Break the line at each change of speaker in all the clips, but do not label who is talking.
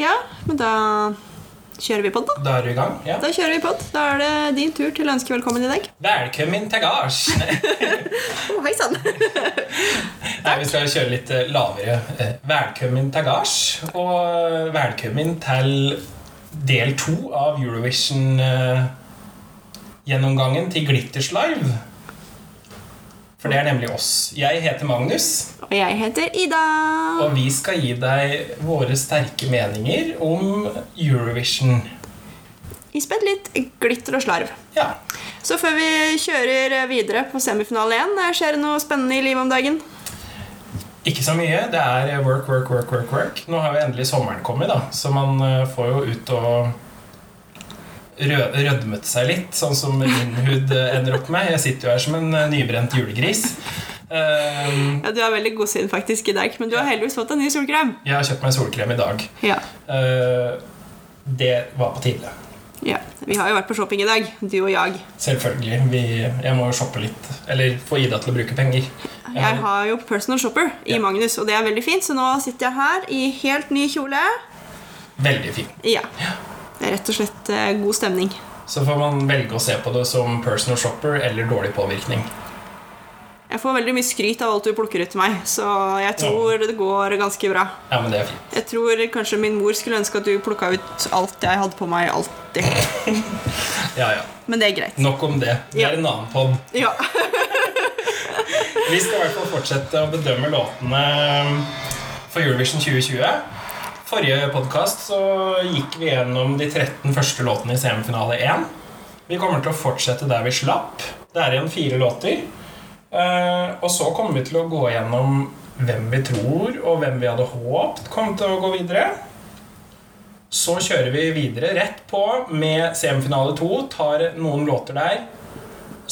Ja, men da kjører vi på, da.
Da er du i gang? Ja.
Da kjører vi på. Da er det din tur til å ønske velkommen i dag.
Velkommen til gards! Nei,
Å, hei sann!
vi skal kjøre litt eh, lavere. Eh, Velkommen til gards, og eh, velkommen til del to av Eurovision-gjennomgangen til Glitters Live. For det er nemlig oss. Jeg heter Magnus,
Og jeg heter Ida.
og vi skal gi deg våre sterke meninger om Eurovision.
Ispedd litt glitter og slarv.
Ja.
Så før vi kjører videre på semifinale én, eh, skjer det noe spennende i livet om dagen?
Ikke så mye. Det er eh, work, work, work, work. work. Nå har jo endelig sommeren kommet, da, så man eh, får jo ut og rø- rødmet seg litt, sånn som min hud eh, ender opp med. Jeg sitter jo her som en eh, nybrent julegris. Eh,
Ja, Du har veldig godsyn faktisk i dag, men du har heldigvis fått en ny solkrem.
Jeg har kjøpt meg solkrem i dag.
Ja.
Eh, Det var på tide.
ja. Vi har jo vært på shopping i dag, du og jeg.
Selvfølgelig. Vi, jeg må jo shoppe litt. Eller få Ida til å bruke penger.
Jeg har jo personal shopper i
Ja.
Magnus, og det er veldig fint, så nå sitter jeg her i helt ny kjole.
Veldig fin.
Ja. Det er rett og slett eh, god stemning.
Så får man velge å se på det som personal shopper eller dårlig påvirkning.
Jeg får veldig mye skryt av alt du plukker ut til meg, så jeg tror det går ganske bra.
Ja, men det er fint.
Jeg tror kanskje min mor skulle ønske at du plukka ut alt jeg hadde på meg alltid.
Ja, ja.
Men det er greit.
Nok om det. Det
Ja.
er en annen pod.
Ja.
Vi skal i hvert fall fortsette å bedømme låtene for Eurovision 2020. Forrige podkast gikk vi gjennom de 13 første låtene i semifinale 1. Vi kommer til å fortsette der vi slapp. Det er igjen fire låter. Eh, Og så kommer vi til å gå gjennom hvem vi tror, og hvem vi hadde håpet kom til å gå videre. Så kjører vi videre rett på med semifinale 2. Tar noen låter der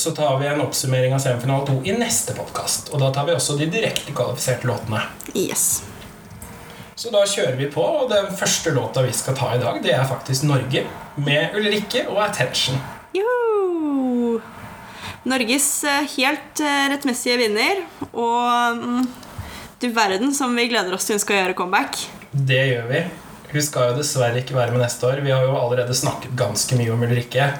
så tar vi en oppsummering av semifinale 2 i neste podkast. Og da tar vi også de direkte kvalifiserte låtene.
Yes.
Så da kjører vi på, og den første låta vi skal ta i dag, det er faktisk Norge. Med Ulrikke og Attention.
Joho! Norges eh, helt eh, rettmessige vinner, og mm, du verden som vi gleder oss til hun skal gjøre comeback.
Det gjør vi. Hun skal jo dessverre ikke være med neste år. Vi har jo allerede snakket ganske mye om Ulrikke.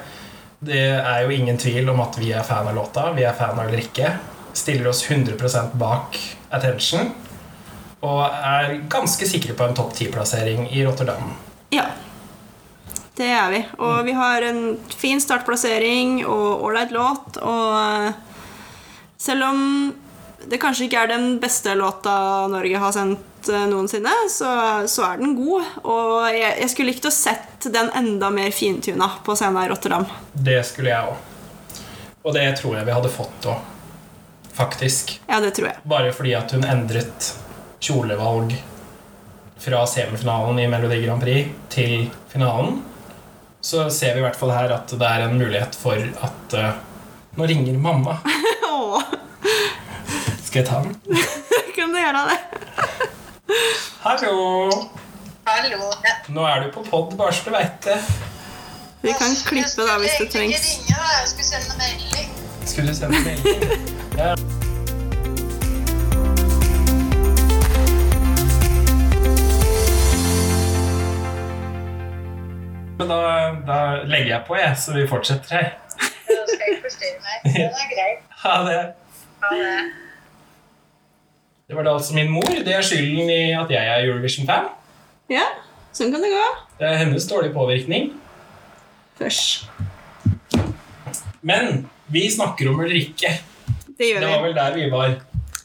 Det er jo ingen tvil om at vi er fan av låta. Vi er fan av Ulrikke. Stiller oss 100 bak Attention. Og er ganske sikre på en topp 10-plassering i Rotterdam.
Ja. Det er vi. Og vi har en fin startplassering og ålreit låt. Og eh, selv om det kanskje ikke er den beste låta Norge har sendt eh, noensinne, så, så er den god. Og jeg, jeg skulle likt å sett den enda mer fintuna på scenen i Rotterdam.
Det skulle jeg òg. Og det tror jeg vi hadde fått òg, faktisk.
Ja, det tror jeg.
Bare fordi at hun endret kjolevalg fra semifinalen i Melodi Grand Prix til finalen, så ser vi i hvert fall her at det er en mulighet for at eh, Nå ringer mamma.
Åh,
Skal jeg ta den?
kan du gjøre det?
Hallo!
Hallo.
Nå er du på pod, bare så du veit det.
Vi kan klippe da hvis det
Jeg
trengs.
skulle egentlig ikke ringe, da. jeg skulle sende melding.
Skulle du sende melding? Ja. Men da, da legger jeg på, jeg, så vi fortsetter her.
Jeg skal ikke forstyrre meg. Det er greit.
Ha det.
Ha det.
Det var da altså min mor. Det er skylden i at jeg er Eurovision-fan.
Ja, sånn kan det gå.
Det er hennes dårlige påvirkning.
Først.
Men vi snakker om Ulrikke.
Det
Det
gjør vi.
var vel der vi var.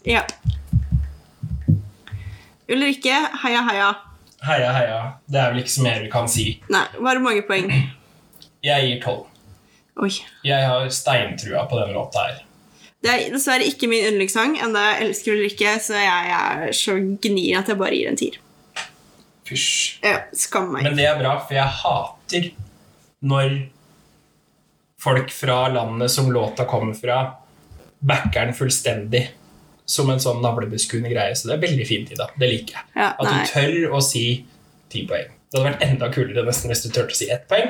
Ja. Ulrikke, heia, heia.
Heia, heia. Det er vel ikke så mer vi kan si.
Nei, var det mange poeng?
Jeg gir tolv.
Oi.
Jeg har steintrua på denne låta her.
Det er dessverre ikke min yndlingssang, enda jeg elsker Ulrikke, så jeg er så gnir at jeg bare gir en tier.
Fysj.
Ja, skam meg.
Men det er bra, for jeg hater når folk fra landet som låta kommer fra, backer den fullstendig som en sånn navlebeskuende greie. Så det er veldig fint, Ida. Det liker jeg.
Ja,
At
nei.
du tør å si ti poeng. Det hadde vært enda kulere nesten hvis du turte å si ett poeng.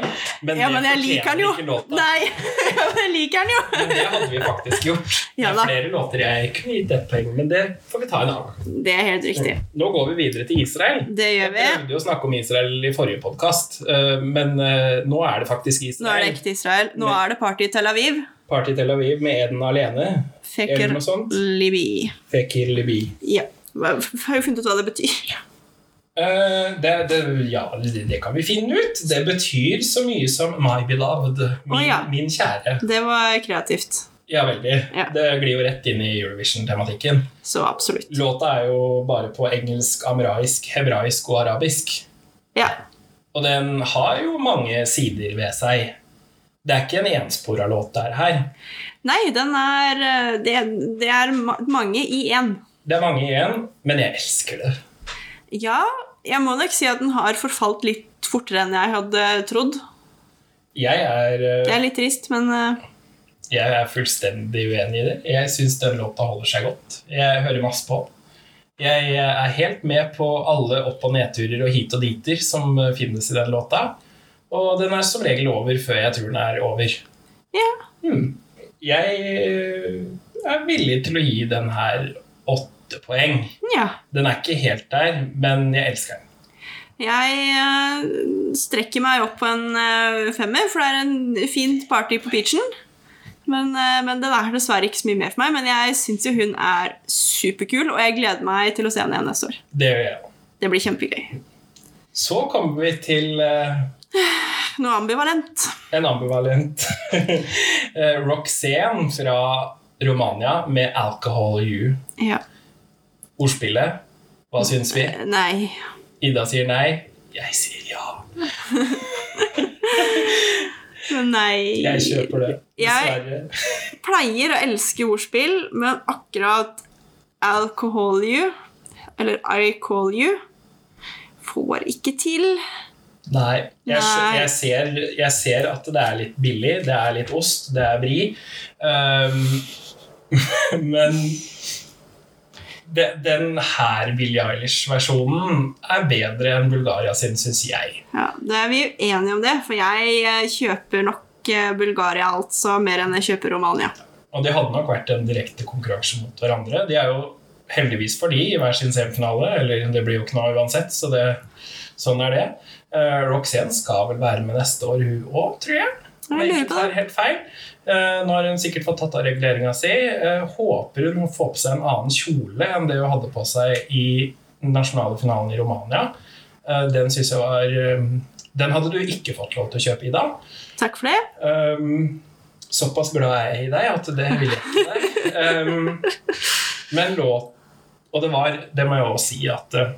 Men,
Ja,
det
men jeg
fortjener
liker den jo.
ikke låta.
Nei, ja, men jeg liker den jo.
Men det hadde vi faktisk gjort.
Ja
det
da.
er flere låter jeg kunne gitt ett poeng, men det får vi ta en annen gang.
Det er helt riktig.
Nå går vi videre til Israel.
Det gjør vi.
Jeg prøvde jo å snakke om Israel i forrige podkast, men eh, nå er det faktisk
Nå er
Israel.
det ekte Israel. Nå er det party i Tel Aviv.
Party Tel Aviv med Eden alene. Eller
Feker
noe sånt.
Libi.
Fekir Libi.
Ja. Jeg har jo funnet ut hva det betyr.
Eh, det, det, ja, det det kan vi finne ut. Det betyr så mye som my beloved, min,
Å, ja.
min kjære.
Det var kreativt.
Ja, veldig.
Ja.
Det glir jo rett inn i Eurovision-tematikken.
Så absolutt.
Låta er jo bare på engelsk, amraisk, hebraisk og arabisk.
Ja.
Og den har jo mange sider ved seg. Det er ikke en enspora låt der her.
Nei, den er eh, Det, det er ma mange i én.
Det er mange igjen, men jeg elsker det.
Ja, jeg må nok si at den har forfalt litt fortere enn jeg hadde trodd.
Jeg er,
Det
eh,
er litt trist, men eh,
jeg er fullstendig uenig i det. Jeg syns den låta holder seg godt. Jeg hører masse på den. Jeg er helt med på alle opp- og nedturer og hit og diter som eh, finnes i den låta. Og den er som regel over før jeg tror den er over.
ja.
Hmm. Jeg eh, er villig til å gi den her åtte poeng.
ja.
Den er ikke helt der, men jeg elsker den.
Jeg eh, strekker meg opp på en eh, femmer, for det er en fin party på beachen. Men, eh, men den er dessverre ikke så mye mer for meg. Men jeg syns jo hun er superkul, og jeg gleder meg til å se henne igjen neste år.
Det gjør jeg òg.
Det blir kjempegøy.
Så kommer vi til eh,
Noe ambivalent.
en ambivalent eh, Roxanne fra Romania med 'Alcohol You'.
Ja.
Ordspillet. Hva syns vi?
Nei.
Ida sier nei. Jeg sier ja.
Nei.
Jeg kjøper det.
Jeg-
Dessverre.
pleier å elske ordspill, men akkurat I'll call you, eller I call you, får ikke til.
Nei. Jeg, skjø-
Nei.
jeg, ser, jeg ser at det er litt billig. Det er litt ost. Det er vri. Um, men de, den her Billie Eilish-versjonen er bedre enn Bulgaria sin, syns jeg.
Ja, det er vi uenige om det, for jeg eh, kjøper nok eh, Bulgaria altså mer enn jeg kjøper Romania.
Og de hadde nok vært en direkte konkurranse mot hverandre. De er jo heldigvis for de i hver sin semifinale, eller det blir jo ikke noe uansett, så det, sånn er det. Eh, Roxanne skal vel være med neste år, hun òg, tror jeg. Om
Jeg
jeg
lurer på
ikke tar
det.
helt feil. Eh, nå har hun sikkert fått tatt av reguleringa si. Eh, håper hun får på seg en annen kjole enn det hun hadde på seg i den nasjonale finalen i Romania. Eh, den synes jeg var eh, Den hadde du ikke fått lov til å kjøpe, Ida.
Takk for det.
Um, såpass glad er jeg i deg at det vil jeg ikke deg. Um, men låt Og det var, det må jeg også si, at eh,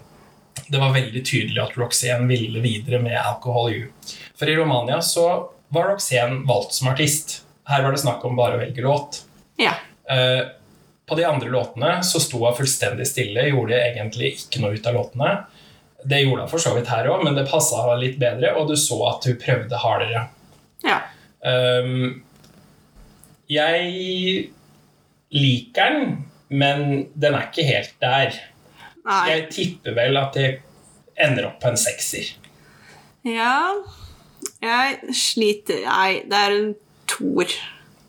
det var veldig tydelig at Roxanne ville videre med Alcohol You. For i Romania så var Roxanne valgt som artist. Her var det snakk om bare å velge låt.
Ja.
Eh, på de andre låtene så sto hun fullstendig stille, gjorde egentlig ikke noe ut av låtene. Det gjorde hun for så vidt her òg, men det passa henne litt bedre, og du så at hun prøvde hardere.
ja.
Ehm, jeg liker den, men den er ikke helt der.
Nei.
Jeg tipper vel at jeg ender opp på en sekser.
Ja. Jeg sliter Nei, det er en toer.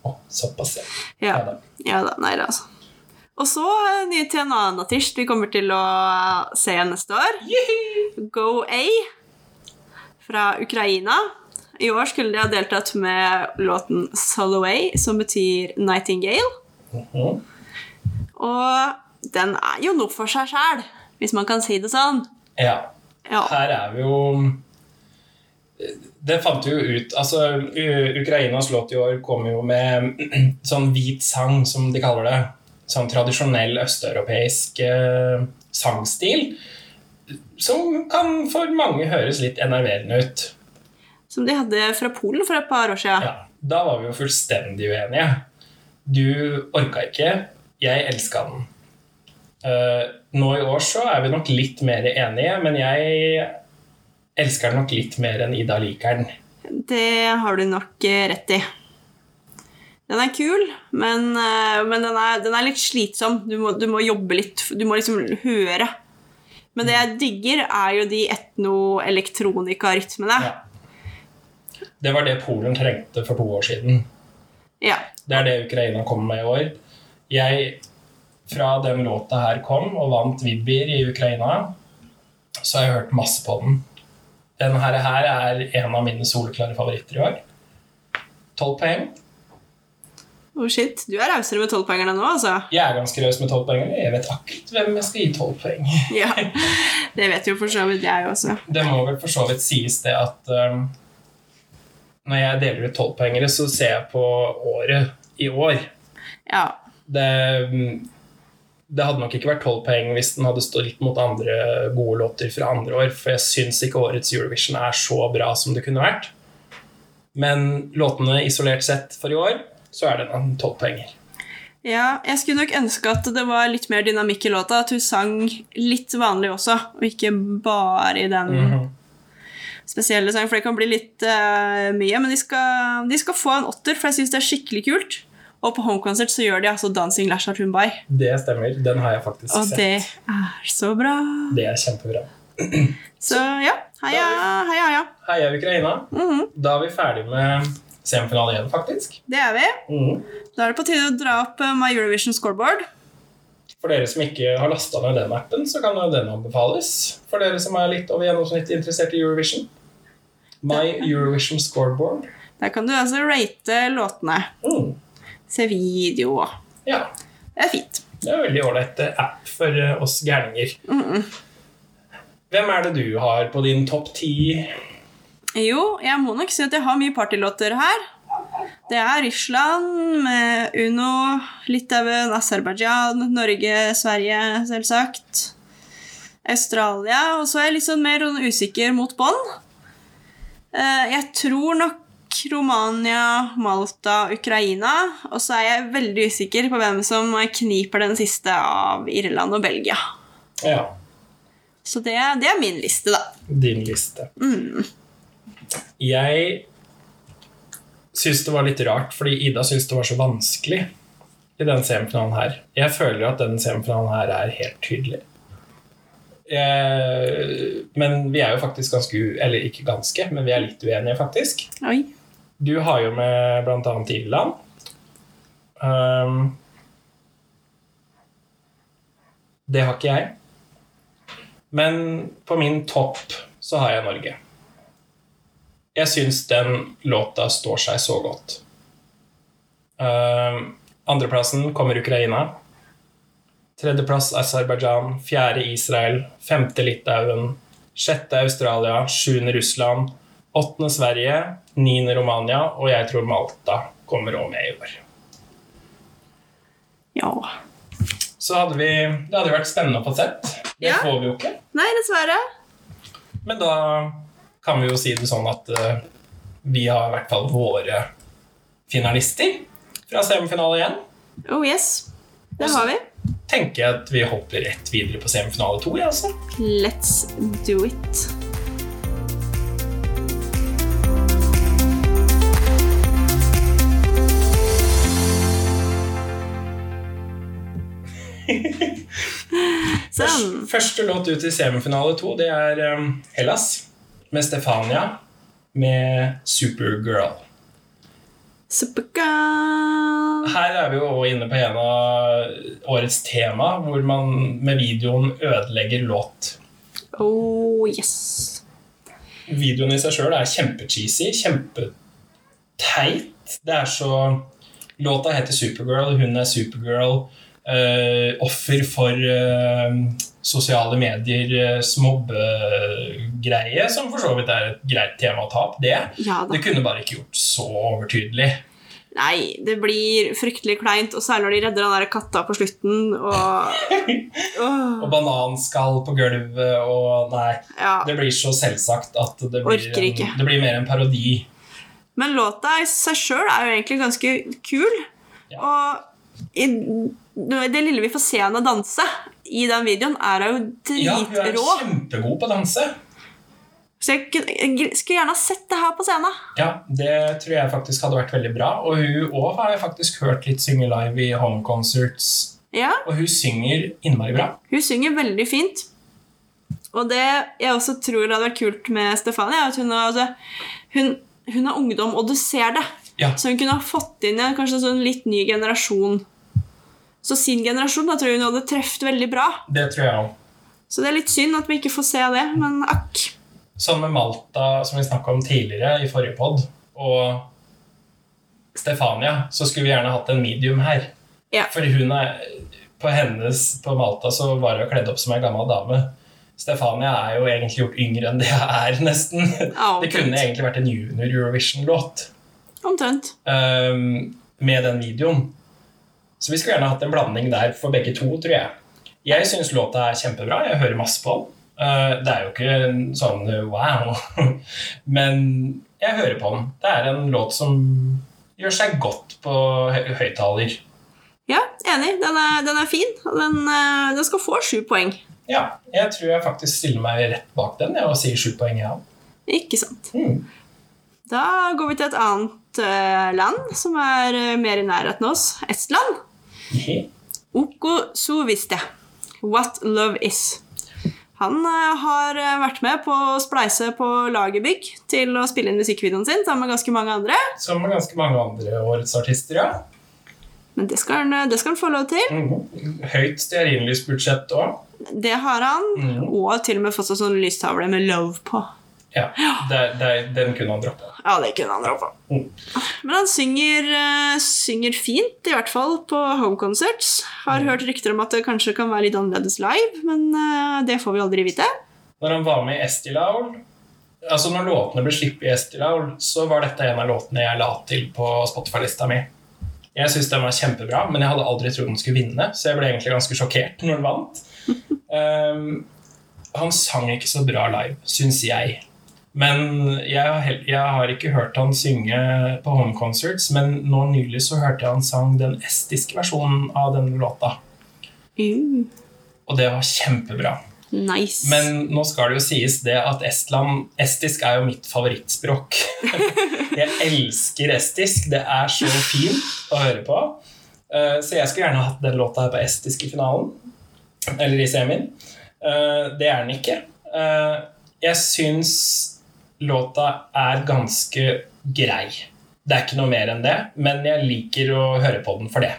Å, såpass, ja.
Ja.
Ja da.
ja da. Nei da, altså. Og så eh, ny til en annen artist vi kommer til å eh, se neste år. Go A fra Ukraina. I år skulle de ha deltatt med låten Soloway, som betyr Nightingale.
Mhm.
Og den er jo noe for seg sjæl, hvis man kan si det sånn.
ja.
Ja.
Her er vi jo Det fant vi jo ut Altså, U- Ukrainas låt i år kom jo med sånn hvit sang, som de kaller det. Sånn tradisjonell østeuropeisk eh, sangstil. Som kan for mange høres litt enerverende ut.
Som de hadde fra Polen for et par år siden.
Ja, da var vi jo fullstendig uenige. Du orka ikke, jeg elska den. Eh, nå i år så er vi nok litt mer enige, men jeg elsker den nok litt mer enn Ida liker den.
Det har du nok eh, rett i. Den er kul, men, eh, men den, er, den er litt slitsom. Du må, du må jobbe litt. Du må liksom høre Men det jeg digger, er jo de etno-elektronika-rytmene.
Ja. Det var det Polen trengte for to år siden.
Ja.
Det er det Ukraina kommer med i år. Jeg, fra den låta her kom og vant Vibbier i Ukraina, så har jeg hørt masse på den. Denne her, her er en av mine soleklare favoritter i år. Tolv poeng.
Oh shit, du er rausere med tolvpoengerne nå, altså.
Jeg er ganske raus med tolv poeng. og Jeg vet akkurat hvem jeg skal gi tolv poeng.
Ja. Det vet jo for så vidt jeg også.
Det må vel for så vidt sies det at um, når jeg deler ut tolvpoengere, så ser jeg på året i år.
Ja.
det, det hadde nok ikke vært tolv poeng hvis den hadde stått mot andre gode låter fra andre år, for jeg syns ikke årets Eurovision er så bra som det kunne vært. Men låtene isolert sett for i år, så er det en tolv poenger.
ja. Jeg skulle nok ønske at det var litt mer dynamikk i låta. At hun sang litt vanlig også, og ikke bare i den
Mhm.
spesielle sangen. For det kan bli litt eh, mye. Men de skal, de skal få en åtter, for jeg syns det er skikkelig kult. Og på homekonsert så gjør de altså 'Dancing Lashart Humbai'.
Det stemmer. Den har jeg faktisk
Og
sett. Det...
det er så bra.
er kjempebra.
Så ja. Heia, heia, heia. Mhm.
Heia Ukraina. Da er vi ferdig med semifinale igjen, faktisk.
Det er vi.
Mhm.
Da er det på tide å dra opp eh, My Eurovision Scoreboard.
For dere som ikke har lasta ned den appen, så kan jo den anbefales. For dere som er litt over gjennomsnittet interessert i Eurovision. My Eurovision scoreboard.
Der kan du altså rate låtene.
Mm.
Se video.
Ja.
Det er fint.
Det er veldig ålreit eh, app for eh, oss gærninger. Hvem er det du har på din topp ti?
Jo, jeg må nok si at jeg har mye partylåter her. Det er Russland med Uno, Litauen, Aserbajdsjan, Norge, Sverige, selvsagt. Australia. Og så er jeg litt sånn mer sånn usikker mot bånd. Eh, Jeg tror nok Romania, Malta, Ukraina. Og så er jeg veldig usikker på hvem som kniper den siste av Irland og Belgia.
Ja,
Så det, det er min liste, da.
din liste. Jeg syns det var litt rart, fordi Ida syns det var så vanskelig i den semifinalen her. Jeg føler at den semifinalen her er helt tydelig. Eh, Men vi er jo faktisk ganske u... Eller ikke ganske, men vi er litt uenige, faktisk.
Oi.
Du har jo med blant annet Irland. Ehm, det har ikke jeg. Men på min topp så har jeg Norge. Jeg syns den låta står seg så godt. Ehm, andreplassen kommer Ukraina. Tredjeplass Aserbajdsjan. Fjerde Israel. Femte Litauen. Sjette Australia. Sjuende Russland. Åttende Sverige, niende Romania, og jeg tror Malta kommer òg med i år.
Ja.
Så hadde vi Det hadde vært spennende å få sett. Det
Ja.
får vi jo ikke.
Nei, dessverre.
Men da kan vi jo si det sånn at eh, vi har i hvert fall våre finalister fra semifinale igjen.
Oh yes. Det har vi.
Tenker jeg at vi hopper rett videre på semifinale to, jeg, altså.
Let's do it. Sånn.
Første låt ut i semifinale to, det er um, Hellas med Stefania med Supergirl.
Supergirl.
Her er vi jo også inne på en av årets tema, hvor man med videoen ødelegger låt.
Oh yes.
Videoen i seg sjøl er kjempecheesy, kjempeteit. Det er så Låta heter Supergirl, hun er Supergirl. eh, offer for eh, sosiale medier, eh, smobbegreie, som for så vidt er et greit tema å ta opp, det.
Ja da.
Det kunne bare ikke gjort så overtydelig.
Nei, det blir fryktelig kleint, og særlig når de redder den der katta på slutten, og Åh,
Og bananskall på gulvet og Nei.
Ja.
Det blir så selvsagt at det blir,
Orker ikke.
en, det blir mer en parodi.
Men låta i seg sjøl er jo egentlig ganske kul.
Ja.
Og i, det lille vi får se henne danse i den videoen, er hun
Ja, hun er
dritrå.
kjempegod på å danse.
Så jeg, kunne- jeg skulle gjerne ha sett det her på scenen.
Ja, Det tror jeg faktisk hadde vært veldig bra. Og hun òg har jeg faktisk hørt litt synge live i home concerts.
Ja,
Og hun synger innmari bra.
Hun synger veldig fint. Og det jeg også tror hadde vært kult med Stefania, er at hun har, altså, hun, hun har ungdom, og du ser det.
Ja.
Så hun kunne ha fått inn en kanskje en sånn litt ny generasjon. Så sin generasjon da tror jeg hun hadde truffet veldig bra.
Det tror jeg òg.
Så det er litt synd at vi ikke får se det, men akk.
Sånn med Malta, som vi snakka om tidligere i forrige pod, og Stefania, så skulle vi gjerne hatt en medium her.
Ja.
For hun er På hennes På Malta så var hun kledd opp som ei gammel dame. Stefania er jo egentlig gjort yngre enn det jeg er, nesten.
Ja,
Det kunne
omtrent.
egentlig vært en junior Eurovision-låt
Omtrent.
ehm, med den videoen. Så vi skulle gjerne hatt en blanding der for begge to, tror jeg. Jeg syns låta er kjempebra. Jeg hører masse på den. Eh, det er jo ikke en sånn eh, wow, men jeg hører på den. Det er en låt som gjør seg godt på hø- høyttaler.
Ja, enig. Den er, den er fin. og Den, eh, den skal få sju poeng.
Ja, jeg tror jeg faktisk stiller meg rett bak den jeg, og sier sju poeng, jeg òg.
Ikke sant.
Mm.
Da går vi til et annet eh, land som er eh, mer i nærheten av oss. Estland. Oko Suviste. What Love Is. Han eh, har eh, vært med på å spleise på Lagerbygg til å spille inn musikkvideoen sin sammen med ganske mange andre.
Som med ganske mange andre årets artister, ja.
Men det skal han, eh, det skal han få lov til.
Mhm. Høyt stearinlysbudsjett òg.
Det har han.
Mm.
Og til og med fått seg sånn lystavle med love på.
Ja, det, det, den kunne han droppe.
Ja, det kunne han dra på.
Mm.
Men han synger, eh, synger fint, i hvert fall på home concerts.
Mm.
Har hørt rykter om at det kanskje kan være litt annerledes live, men eh, det får vi aldri vite.
Når han var med i Estilaul Altså Når låtene ble sluppet i Estilaul, så var dette en av låtene jeg la til på Spotify-lista mi. Jeg syns den var kjempebra, men jeg hadde aldri trodd den skulle vinne, så jeg ble egentlig ganske sjokkert når den vant. Ehm, han sang ikke så bra live, syns jeg. Men jeg har, hel- jeg har ikke hørt han synge på home concerts, men nå nylig så hørte jeg han sang den estiske versjonen av denne låta,
Uh,
og det var kjempebra.
nice.
Men nå skal det jo sies det at Estland Estisk er jo mitt favorittspråk. jeg elsker estisk. Det er så fint å høre på. Eh, Så jeg skulle gjerne hatt den låta her på estisk i finalen. Eller i semien. Eh, Det er den ikke. Eh, Jeg syns låta er ganske grei. Det er ikke noe mer enn det, men jeg liker å høre på den for det.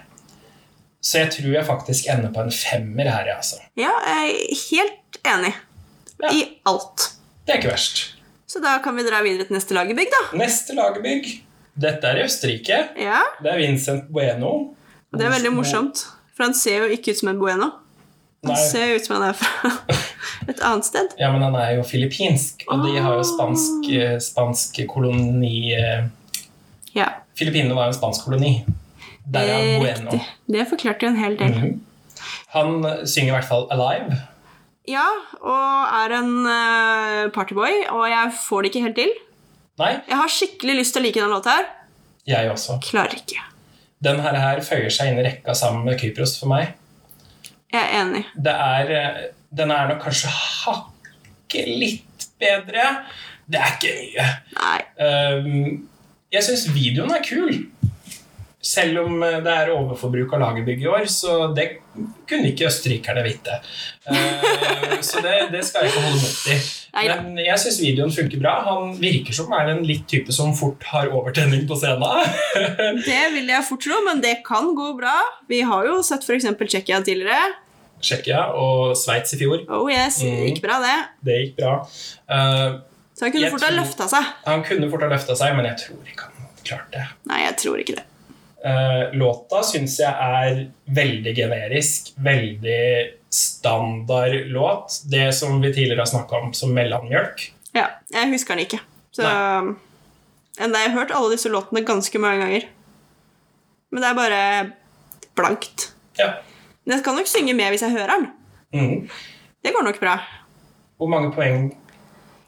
Så jeg tror jeg faktisk ender på en femmer her, jeg, altså.
Ja, jeg er helt enig.
Ja.
I alt.
Det er ikke verst.
Så da kan vi dra videre til neste lagerbygg, da.
Neste lagerbygg. Dette er i Østerrike.
Ja,
Det er Vincent Bueno.
og Det er veldig morsomt, for han ser jo ikke ut som en bueno. Han
Nei.
ser jo ut som han er fra et annet sted.
Ja, men han er jo filippinsk, og de
Ah.
har jo spansk, eh, spansk koloni eh,
Ja,
Filippinene var jo en spansk koloni. Der er Bueno.
riktig. Det forklarte jo en hel del.
Mhm. Han eh, synger i hvert fall 'Alive'.
Ja, og er en eh, partyboy, og jeg får det ikke helt til.
Nei,
Jeg har skikkelig lyst til å like denne låta her.
jeg også.
Klarer ikke.
Den her, her føyer seg inn i rekka sammen med Kypros for meg.
Jeg er enig.
det er, eh, den er nok kanskje hakket litt bedre. Det er ikke mye.
Nei.
Ehm, jeg syns videoen er kul. Selv om eh, det er overforbruk av lagerbygg i år, så det kunne ikke østerrikerne vite. Ehm, så det, det skal jeg ikke holde mot i.
Neida.
Men jeg syns videoen funker bra. Han virker som er en litt type som fort har overtenning på scenen.
Det vil jeg fort tro, men det kan gå bra. Vi har jo sett f.eks. Tsjekkia tidligere.
Tsjekkia og Sveits i fjor.
Oh yes,
Mm.
gikk bra, det.
Det gikk bra. Ehm,
Så han kunne
Jeg
fort ha
tror-
løfta seg.
Han kunne fort ha løfta seg, men jeg tror ikke han hadde klart det.
Nei, jeg tror ikke det.
Eh, låta syns jeg er veldig generisk, veldig standard låt. Det som vi tidligere har snakka om som mellommjølk.
Ja, Jeg husker den ikke. Så um, Enda jeg har hørt alle disse låtene ganske mange ganger. Men det er bare blankt.
Ja.
Men jeg kan nok synge med hvis jeg hører den.
Mhm.
Det går nok bra.
Hvor mange poeng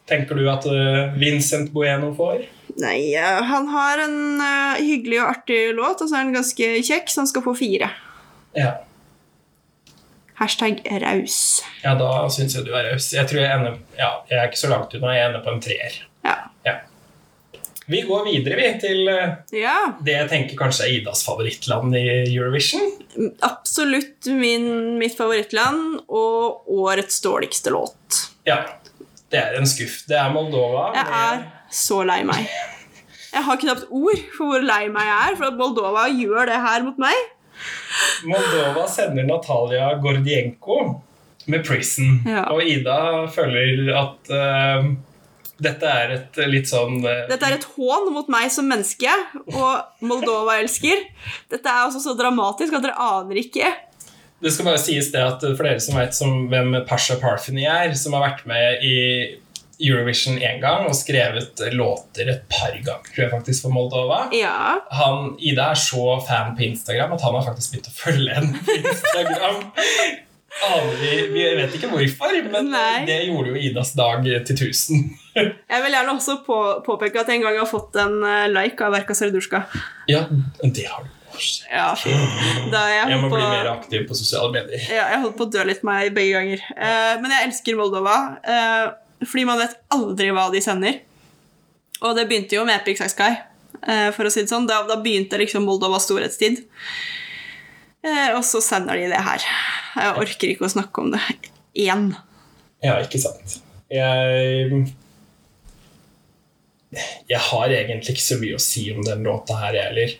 tenker du at eh, Vincent Bueno får?
Nei, eh, han har en eh, hyggelig og artig låt, og så er han ganske kjekk, så han skal få fire.
Ja,
Hashtag raus.
ja da syns jeg du er raus. Jeg tror jeg ender Ja, jeg er ikke så langt unna. Jeg ender på en treer.
Ja.
Ja. Vi går videre, vi, til eh,
ja.
det jeg tenker kanskje er Idas favorittland i Eurovision.
Absolutt min, mitt favorittland og årets dårligste låt.
Ja. Det er en skuff. Det er Moldova.
Jeg er
med-
så lei meg. Jeg har knapt ord for hvor lei meg jeg er for at Moldova gjør det her mot meg.
Moldova sender Natalia Gordienko med Prison.
Ja.
Og Ida føler at eh, dette er et litt sånn eh,
Dette er et hån mot meg som menneske og Moldova-elsker. Dette er også så dramatisk at dere aner ikke.
Det skal bare sies det at for dere som vet som, hvem Pasha Parfany er, som har vært med i Eurovision én gang og skrevet låter et par ganger, tror jeg faktisk, for Moldova
Ja.
han, Ida er så fan på Instagram at han har faktisk begynt å følge henne på Instagram. Aner vi, vi vet ikke hvorfor, men
Nei.
det gjorde jo Idas dag til 1000.
Jeg vil gjerne også på, påpeke at jeg en gang har fått en eh, like av Verka Sardusjka.
Ja, det har du. Å, shit.
Ja, fy. Da jeg,
Jeg må
holdt på-
bli mer aktiv på sosiale medier.
Ja, jeg holdt på å dø litt meg begge ganger. Eh, men jeg elsker Moldova, eh, fordi man vet aldri hva de sender. Og det begynte jo med Epic Sax Guy, eh, for å si det sånn. Da, da begynte liksom Moldovas storhetstid. Eh, og så sender de det her. Jeg orker ikke å snakke om det igjen.
Ja, ikke sant. Jeg Jeg har egentlig ikke så mye å si om den låta her, jeg heller.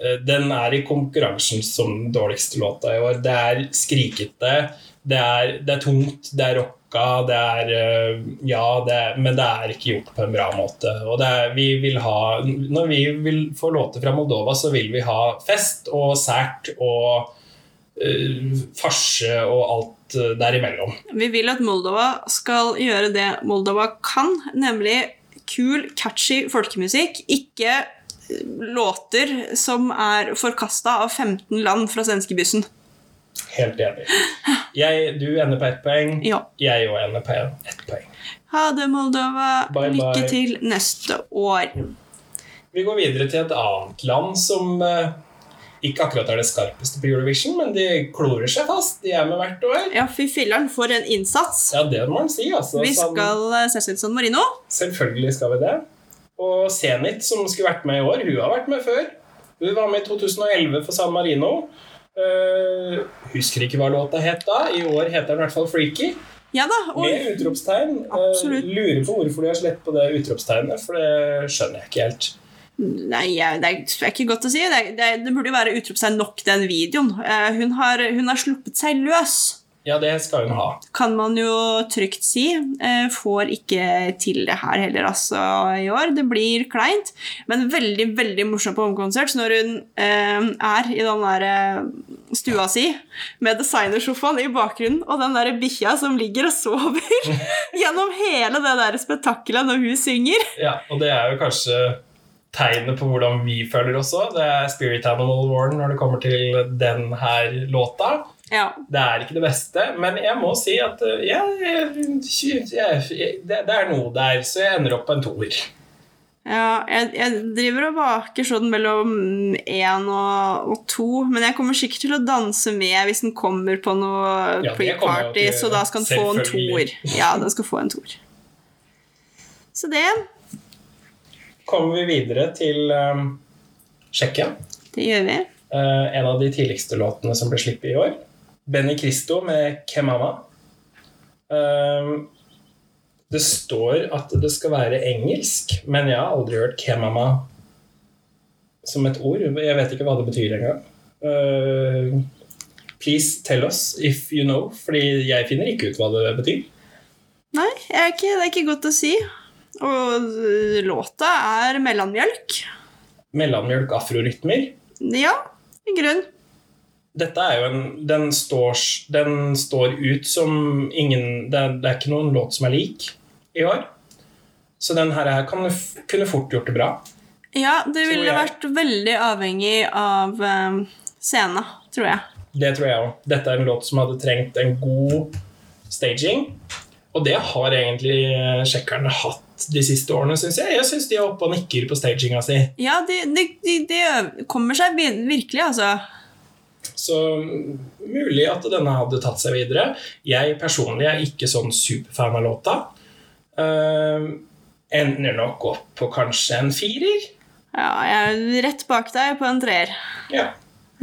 Eh, Den er i konkurransen som den dårligste låta i år. Det er skrikete, det er, det er tungt, det er rocka, det er eh, Ja, det er, men det er ikke gjort på en bra måte. Og det er, vi vil ha Når vi vil få låter fra Moldova, så vil vi ha fest og sært og eh, farse og alt eh, derimellom.
Vi vil at Moldova skal gjøre det Moldova kan, nemlig kul, catchy folkemusikk. Ikke eh, låter som er forkasta av 15 land fra svenskebyssen.
Helt enig. Jeg, du ender på ett poeng.
Ja.
Jeg òg ender på ett poeng.
Ha det, Moldova.
Bye, bye.
Lykke til neste år.
Vi går videre til et annet land som eh, ikke akkurat er det skarpeste på Eurovision, men de klorer seg fast. De er med hvert år.
Ja, fy filleren, for en innsats.
Ja, det må man si, altså.
Vi
Sånn,
skal eh, ses ut som Marino.
selvfølgelig skal vi det. Og Zenit, som skulle vært med i år, hun har vært med før. Hun var med i 2011 for San Marino. Eh, husker ikke hva låta het da. I år heter den i hvert fall Freaky.
Ja da.
Med
Og
utropstegn. Eh,
Absolutt.
Lurer på hvorfor de har slett på det utropstegnet, for det skjønner jeg ikke helt.
Nei, jeg- det er det er ikke godt å si. Det, er- det, er- det burde jo være utropstegn nok, den videoen. Eh, Hun har, hun har sluppet seg løs,
Ja, det skal hun ha.
kan man jo trygt si. Eh, Får ikke til det her heller, altså, i år. Det blir kleint, men veldig, veldig morsomt på homekonsert. Så når hun eh, er i den der eh, stua si med designersofaen i bakgrunnen og den der bikkja som ligger og sover gjennom hele det der spetakkelet når hun synger.
Ja, og det er jo kanskje tegnet på hvordan vi føler også. Det er Spirit Animal Warren når det kommer til den her låta.
Ja.
Det er ikke det beste, men jeg må si at eh, ja, jeg, jeg, jeg, det, det er noe der, så jeg ender opp på en toer.
Ja, jeg, jeg driver og vaker sånn mellom én og, og to, men jeg kommer sikkert til å danse med hvis den kommer på noe
Ja, det kommer jeg
pre-party,
til å
så da skal den få en toer.
selvfølgelig.
Ja, den skal få en toer. Så det,
Kommer vi videre til um, Tsjekkia.
det gjør vi.
Eh, en av de tidligste låtene som ble sluppet i år. Benny Cristo med Kemama. Eh, det står at det skal være engelsk, men jeg har aldri hørt Kemama som et ord. Jeg vet ikke hva det betyr engang. Eh, please tell us if you know, fordi jeg finner ikke ut hva det betyr.
Nei, jeg er ikke, det er ikke godt å si. Og øh, låta er mellommjølk.
Mellommjølk afrorytmer.
Ja, i grunn.
Dette er jo en Den står, den står ut som ingen det er, det er ikke noen låt som er lik i år. Så den her her kan, f- kunne fort gjort det bra.
Ja, det
Tror
ville
jeg.
vært veldig avhengig av um, scena, tror jeg.
Det tror jeg òg. Dette er en låt som hadde trengt en god staging. Og det har egentlig eh, tsjekkerne hatt de siste årene, syns jeg. Jeg syns de er oppe og nikker på staginga si.
Ja, det de, de, de kommer seg vid- virkelig, altså.
Så mm, mulig at denne hadde tatt seg videre. Jeg personlig er ikke sånn superfan av låta. Eh, ender nok opp på kanskje en firer.
Ja, jeg er rett bak deg på en treer,
Ja.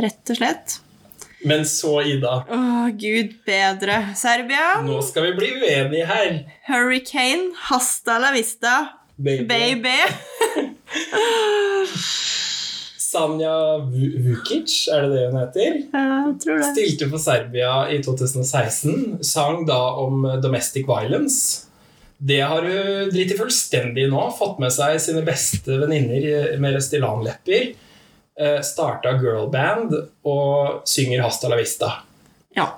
rett og slett.
Men så, Ida,
Å, gud bedre. Serbia,
nå skal vi bli uenige her.
Hurricane, Hasta la vista,
Baby.
baby.
Sanja Vu- Vukic, er det det hun heter?
Jeg tror det.
Stilte for Serbia i 2016. Sang da om eh, domestic violence. Det har hun driti fullstendig i nå. Fått med seg sine beste venninner eh, med Restylane-lepper. eh, Starta girlband og synger Hasta la vista.
Ja.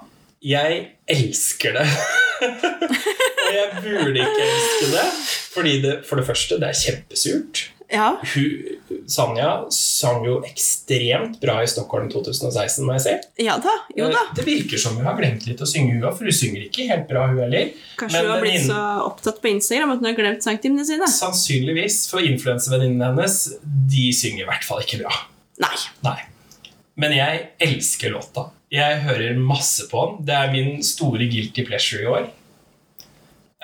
Jeg elsker det. og jeg burde ikke elske det. Fordi det, for det første, det er kjempesurt.
ja.
Hun, Sanja sang jo ekstremt bra i Stockholm 2016, må jeg si.
Ja da. Jo da.
Eh, Det virker som hun har glemt litt å synge, hun òg, for hun synger ikke helt bra, hun heller.
Kanskje
Men
du har blitt
venninnen-
så opptatt på Instagram at du har glemt sangtimene sine?
Sannsynligvis, for influensevenninnene hennes, de synger i hvert fall ikke bra.
Nei.
Nei. Men jeg elsker låta. Jeg hører masse på den. Det er min store guilty pleasure i år.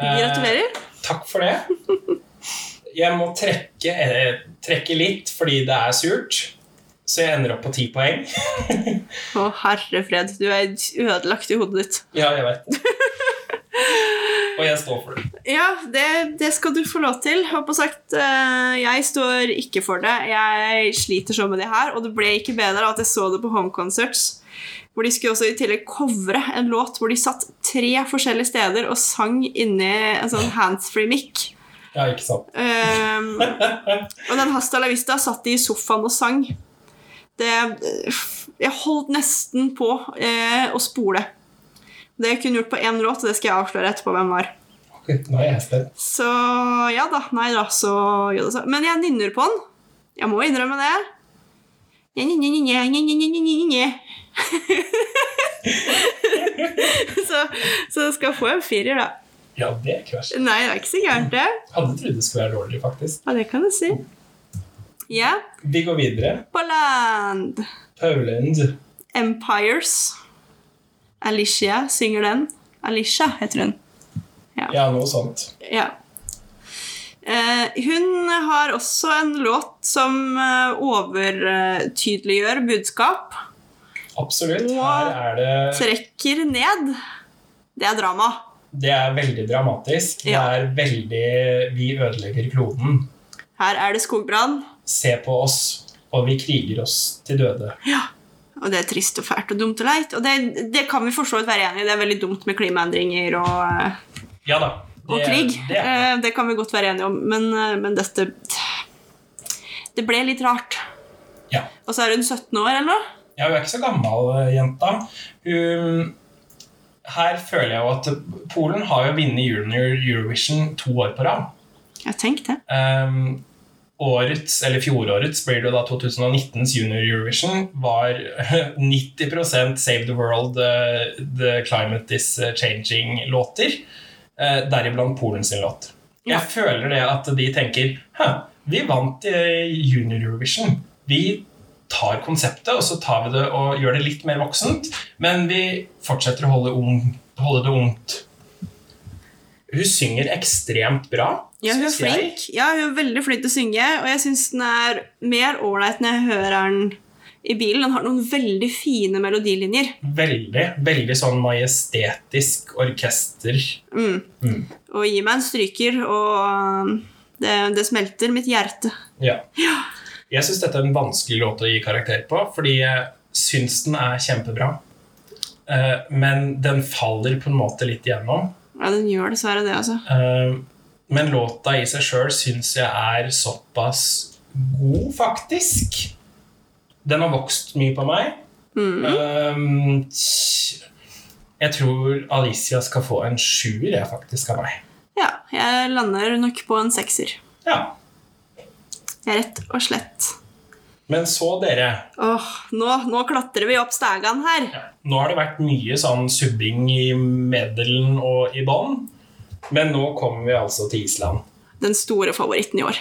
Eh,
Gratulerer.
Takk for det. Jeg må trekke, eh, trekke litt fordi det er surt, så jeg ender opp på ti poeng.
Å, herre fred. Du er ødelagt i hodet ditt.
Ja, jeg vet det. Og jeg står for det.
Ja, det, det skal du få lov til. Håper sagt, eh, jeg står ikke for det. Jeg sliter så med det her, og det ble ikke bedre av at jeg så det på Home Concerts. Hvor de skulle også i tillegg covre en låt hvor de satt tre forskjellige steder og sang inni en sånn handsfree mic.
Ja, ikke sant?
Ehm, og den Hasta la Vista satt de i sofaen og sang. Det, jeg holdt nesten på eh, å spole. Det jeg kunne gjort på én låt, og det skal jeg avsløre etterpå hvem var.
Ok, Nå er jeg spent.
Så ja da. Nei da, så gjør det så. Men jeg nynner på den. Jeg må innrømme det. Nye, nye, nye, nye, nye, nye, nye, nye, nye. så, så skal jeg få en firer, da.
Ja, det er ikke verst.
Nei, det er ikke så gærent, det.
Hadde trodd det skulle være dårligere, faktisk.
Ja, det kan du si. Ja.
Vi går videre.
På land.
Paulund.
Empires. Alicia synger den. Alicia heter hun.
Ja, noe sånt.
Ja. Eh, hun har også en låt som eh, overtydeliggjør budskap.
Absolutt. Her er det
Trekker ned. Det er drama.
Det er veldig dramatisk. Det
Ja.
er veldig Vi ødelegger kloden.
Her er det skogbrann,
Se på oss, og vi kriger oss til døde.
og det er trist og fælt og dumt og leit. Og det, det kan vi for så vidt være enig i. Det er veldig dumt med klimaendringer og eh,
Ja da.
og krig.
Det,
Eh, Det kan vi godt være enige om, men, eh, men dette Det ble litt rart.
Ja.
Og så er hun 17 år, eller noe?
ja, hun er ikke så gammel, eh, jenta. Hun Her føler jeg jo at Polen har jo vunnet junior Eurovision to år på rad.
Jeg tenkte det.
Ehm, årets, eller fjorårets, blir det da 2019s Junior Eurovision, var 90 Save the World, eh, The Climate Is Changing-låter. eh, Deriblant Polen sin låt. Jeg føler det at de tenker Hæ, vi vant eh, Junior Eurovision. Vi tar konseptet, og så tar vi det og gjør det litt mer voksent, men vi fortsetter å holde, ung, holde det ungt. Hun synger ekstremt bra,
Ja, hun er
synes jeg.
flink. Ja, hun er veldig flink til å synge, og jeg syns den er mer ålreit når jeg hører den i bilen. Den har noen veldig fine melodilinjer.
Veldig, veldig sånn majestetisk orkester.
Mm.
Mm.
Og gi meg en stryker, og eh, det, det smelter mitt hjerte.
Ja. Jeg syns dette er en vanskelig låt å gi karakter på, fordi jeg syns den er kjempebra. Eh, Men den faller på en måte litt igjennom.
Ja, den gjør dessverre det, altså.
Eh, Men låta i seg sjøl syns jeg er såpass god, faktisk. Den har vokst mye på meg.
Mm.
Eh, tj- Jeg tror Alicia skal få en sjuer, jeg, faktisk, av meg.
Ja, jeg lander nok på en sekser.
Ja.
Rett og slett.
Men så, dere.
Åh, nå, nå klatrer vi opp stegene her.
Ja. Nå har det vært mye sånn subbing i meddelen og i bånn, men nå kommer vi altså til Island.
Den store favoritten i år.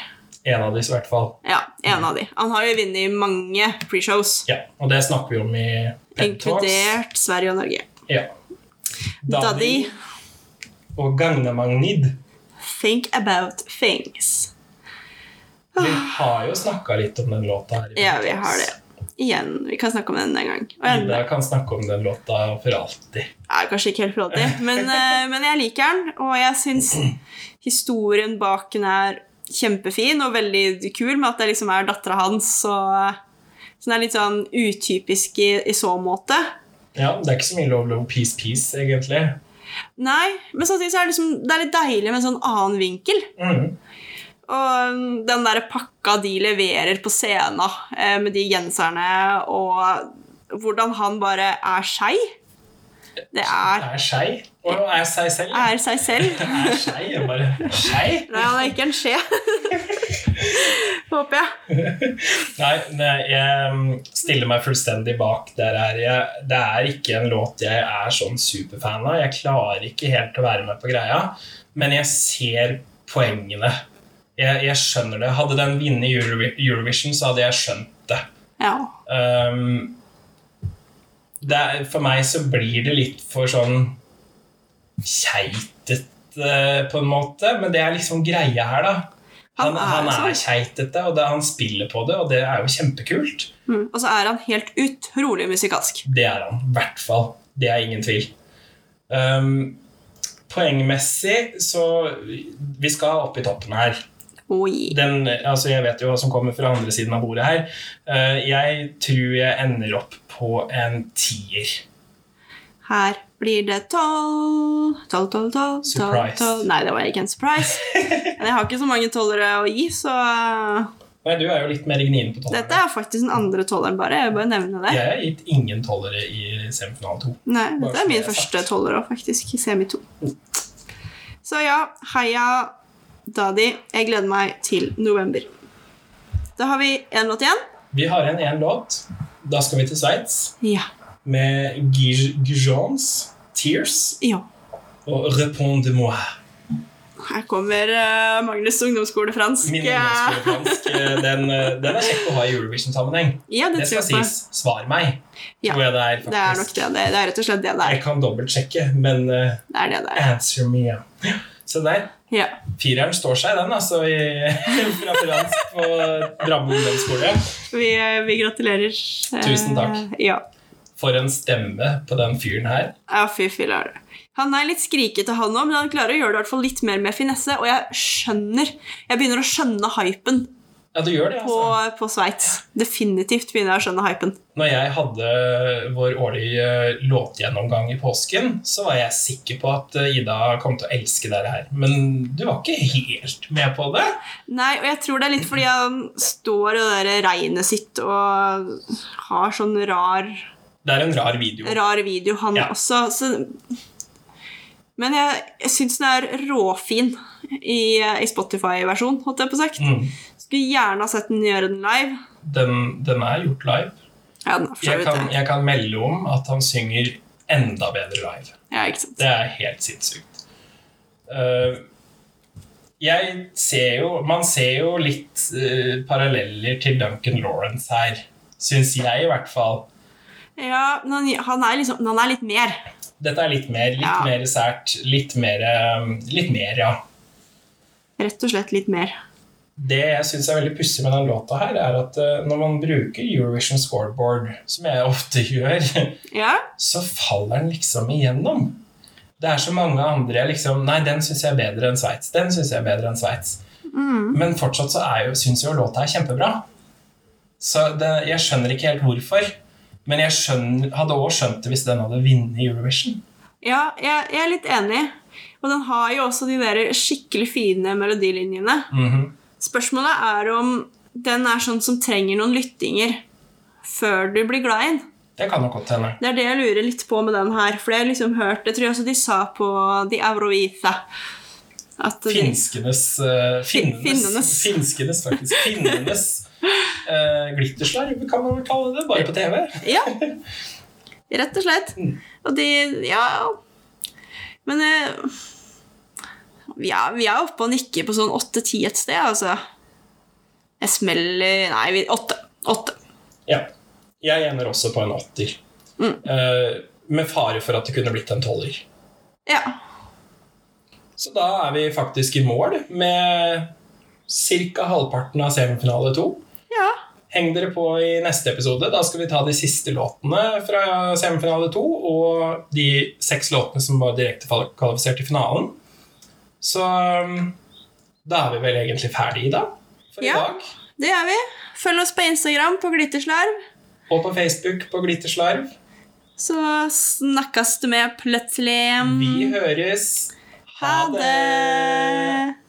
En av disse, i hvert fall.
Ja, en av de. Han har jo vunnet i mange preshows,
Ja, og det snakker vi om i Pep Talks.
inkludert Sverige og Norge.
Ja.
Daddy,
og Gagnamagnid.
think about things.
Vi har jo snakka litt om den låta her. i
Ah. Ja,
Pep
vi har
Talks.
det. Igjen, vi kan snakke om den en gang. Og jeg,
Ida kan snakke om den låta for alltid.
er kanskje ikke helt flott i, men, eh, men jeg liker den. Og jeg syns historien bak den er kjempefin og veldig kul, med at det liksom er dattera hans. Og, så den er litt sånn utypisk i, i så måte.
Ja, Det er ikke så mye Love Love Peace Peace, egentlig.
Nei, men samtidig så er det, liksom, det er litt deilig med en sånn annen vinkel.
Mm.
Og mm, den der pakka de leverer på scenen eh, med de genserne, og hvordan han bare er seg. Det er,
Det er skei. Og er seg selv. ja.
er seg selv.
Det er skei. Jeg bare Skei?
Nei, han er ikke en skje. Håper jeg.
Nei, nei, jeg mm, stiller meg fullstendig bak. Der er jeg, det er ikke en låt jeg er sånn superfan av. Jeg klarer ikke helt å være med på greia, men jeg ser poengene. Jeg, jeg skjønner det. Hadde den vunnet Euro Eurovision, så hadde jeg skjønt det.
Ja.
Ehm, det er, for meg så blir det litt for sånn keitet, eh, på en måte. Men det er liksom greia her, da. Han, han er,
sånn.
keitete, og det, han spiller på det, og det er jo kjempekult.
Mm. Og så er han helt utrolig musikalsk.
Det er han, i hvert fall. Det er ingen tvil. Ehm, poengmessig så Vi skal opp i toppen her.
Oi.
Den, altså jeg vet jo hva som kommer fra andre siden av bordet her. Eh, jeg tror jeg ender opp på en tier.
Her blir det tolv Tolv, tolv, tolv. tolv,
Surprise.
tolv. Nei, det var ikke en surprise. Men jeg har ikke så mange tolvere å gi, så eh,
Nei, du er jo litt mer gnien på tollere.
dette er faktisk den andre tolveren, bare. Jeg vil bare nevne det.
Jeg har gitt ingen tollere i semifinale to.
Nei,
Bare
dette
så
er min
det er sagt.
første tolver òg, faktisk. i Semi 2. Så ja, heia Dadi. Jeg gleder meg til november. Da har vi én låt igjen.
Vi har igjen én låt. Da skal vi til Sveits
Ja.
med Gij- Gijons Tears
ja.
og Repond de moi.
Her kommer eh, Magnus ungdomsskole fransk.
Min ungdomsskoledansk, eh, den, eh, den er kjekk å ha i Eurovision-sammenheng.
Ja, det,
Det skal
tror jeg på.
sies. Svar meg,
Ja,
tror jeg det er. faktisk.
Det er nok det. Det det er rett og slett det det er.
Jeg kan dobbeltsjekke, men eh,
Det er det det er.
answer me. ja. Så der.
Ja.
Fireren står seg, den, altså, i, fra fransk på Drammen ungdomsskole.
Vi, eh, vi gratulerer. eh,
Tusen takk.
Ja.
For en stemme på den fyren her.
Ja, fy filler'n. Han er litt skrikete, han òg, men han klarer å gjøre det i hvert fall litt mer med finesse. Og jeg skjønner Jeg begynner å skjønne hypen
Ja, du gjør det,
på,
altså.
på Sveits. Definitivt begynner jeg å skjønne hypen.
Når jeg hadde vår årlige eh, låtgjennomgang i påsken, så var jeg sikker på at eh, Ida kom til å elske det her. Men du var ikke helt med på det.
Nei, og jeg tror det er litt fordi han står i det der regnet sitt og har sånn rar,
Det er en rar video.
rar video, han
Ja.
også. Så men jeg, jeg syns den er råfin i, i Spotify-versjon, holdt jeg på sagt.
Mm.
Skulle gjerne ha sett den gjøre den live.
Den, den er gjort live.
Ja, den er for så
Jeg
vidt
kan,
det.
jeg kan melde om at han synger enda bedre live.
Ja, ikke sant.
Det er helt sinnssykt. Eh, jeg ser jo Man ser jo litt eh, paralleller til Duncan Lawrence her. Syns jeg, i hvert fall.
Ja, men han, han, er liksom, men han er litt mer.
Dette er litt mer, litt
Ja.
mer sært. Litt mer, eh, litt mer, ja.
Rett og slett litt mer.
Det jeg syns er veldig pussig med den låta her, er at eh, når man bruker Eurovision scoreboard, som jeg ofte gjør,
Ja,
så faller den liksom igjennom. Det er så mange andre jeg liksom Nei, den syns jeg er bedre enn Sveits. Den syns jeg er bedre enn Sveits. Men fortsatt så er jo, syns jo låta er kjempebra. Så det, jeg skjønner ikke helt hvorfor. Men jeg skjønner, hadde òg skjønt det hvis den hadde vunnet Eurovision.
ja jeg, jeg er litt enig. Og den har jo også de der skikkelig fine melodilinjene.
Mhm.
Spørsmålet er om den er sånn som trenger noen lyttinger før du blir glad i den.
Det kan nok godt hende.
Det er det jeg lurer litt på med den her. For det har jeg liksom hørt, det tror jeg også de sa på De Eurovita. At de-
Finskenes eh, finnenes,
finnenes.
Finskenes, faktisk. Finnenes eh, glitterslarv, kan man vel kalle det. Bare på TV.
Ja. Mm. Rett og slett. Og de Ja. Men eh, vi er, vi er oppe og nikker på sånn åtte-ti et sted, altså. Jeg smeller Nei, vi- åtte. Åtte.
Ja. Jeg ender også på en åtter.
Mm.
Eh, med fare for at det kunne blitt en tolver.
Ja.
Så da er vi faktisk i mål med ca. halvparten av semifinale to.
ja.
Heng dere på i neste episode. Da skal vi ta de siste låtene fra semifinale to og de seks låtene som var direkte kvalifisert til finalen. Så um, da er vi vel egentlig ferdige i dag. For
Ja.
i dag.
Det gjør vi. Følg oss på Instagram på Glitterslarv.
Og på Facebook på Glitterslarv.
Så Mm. snakkes det med plutselig.
Vi høres.
Ha det!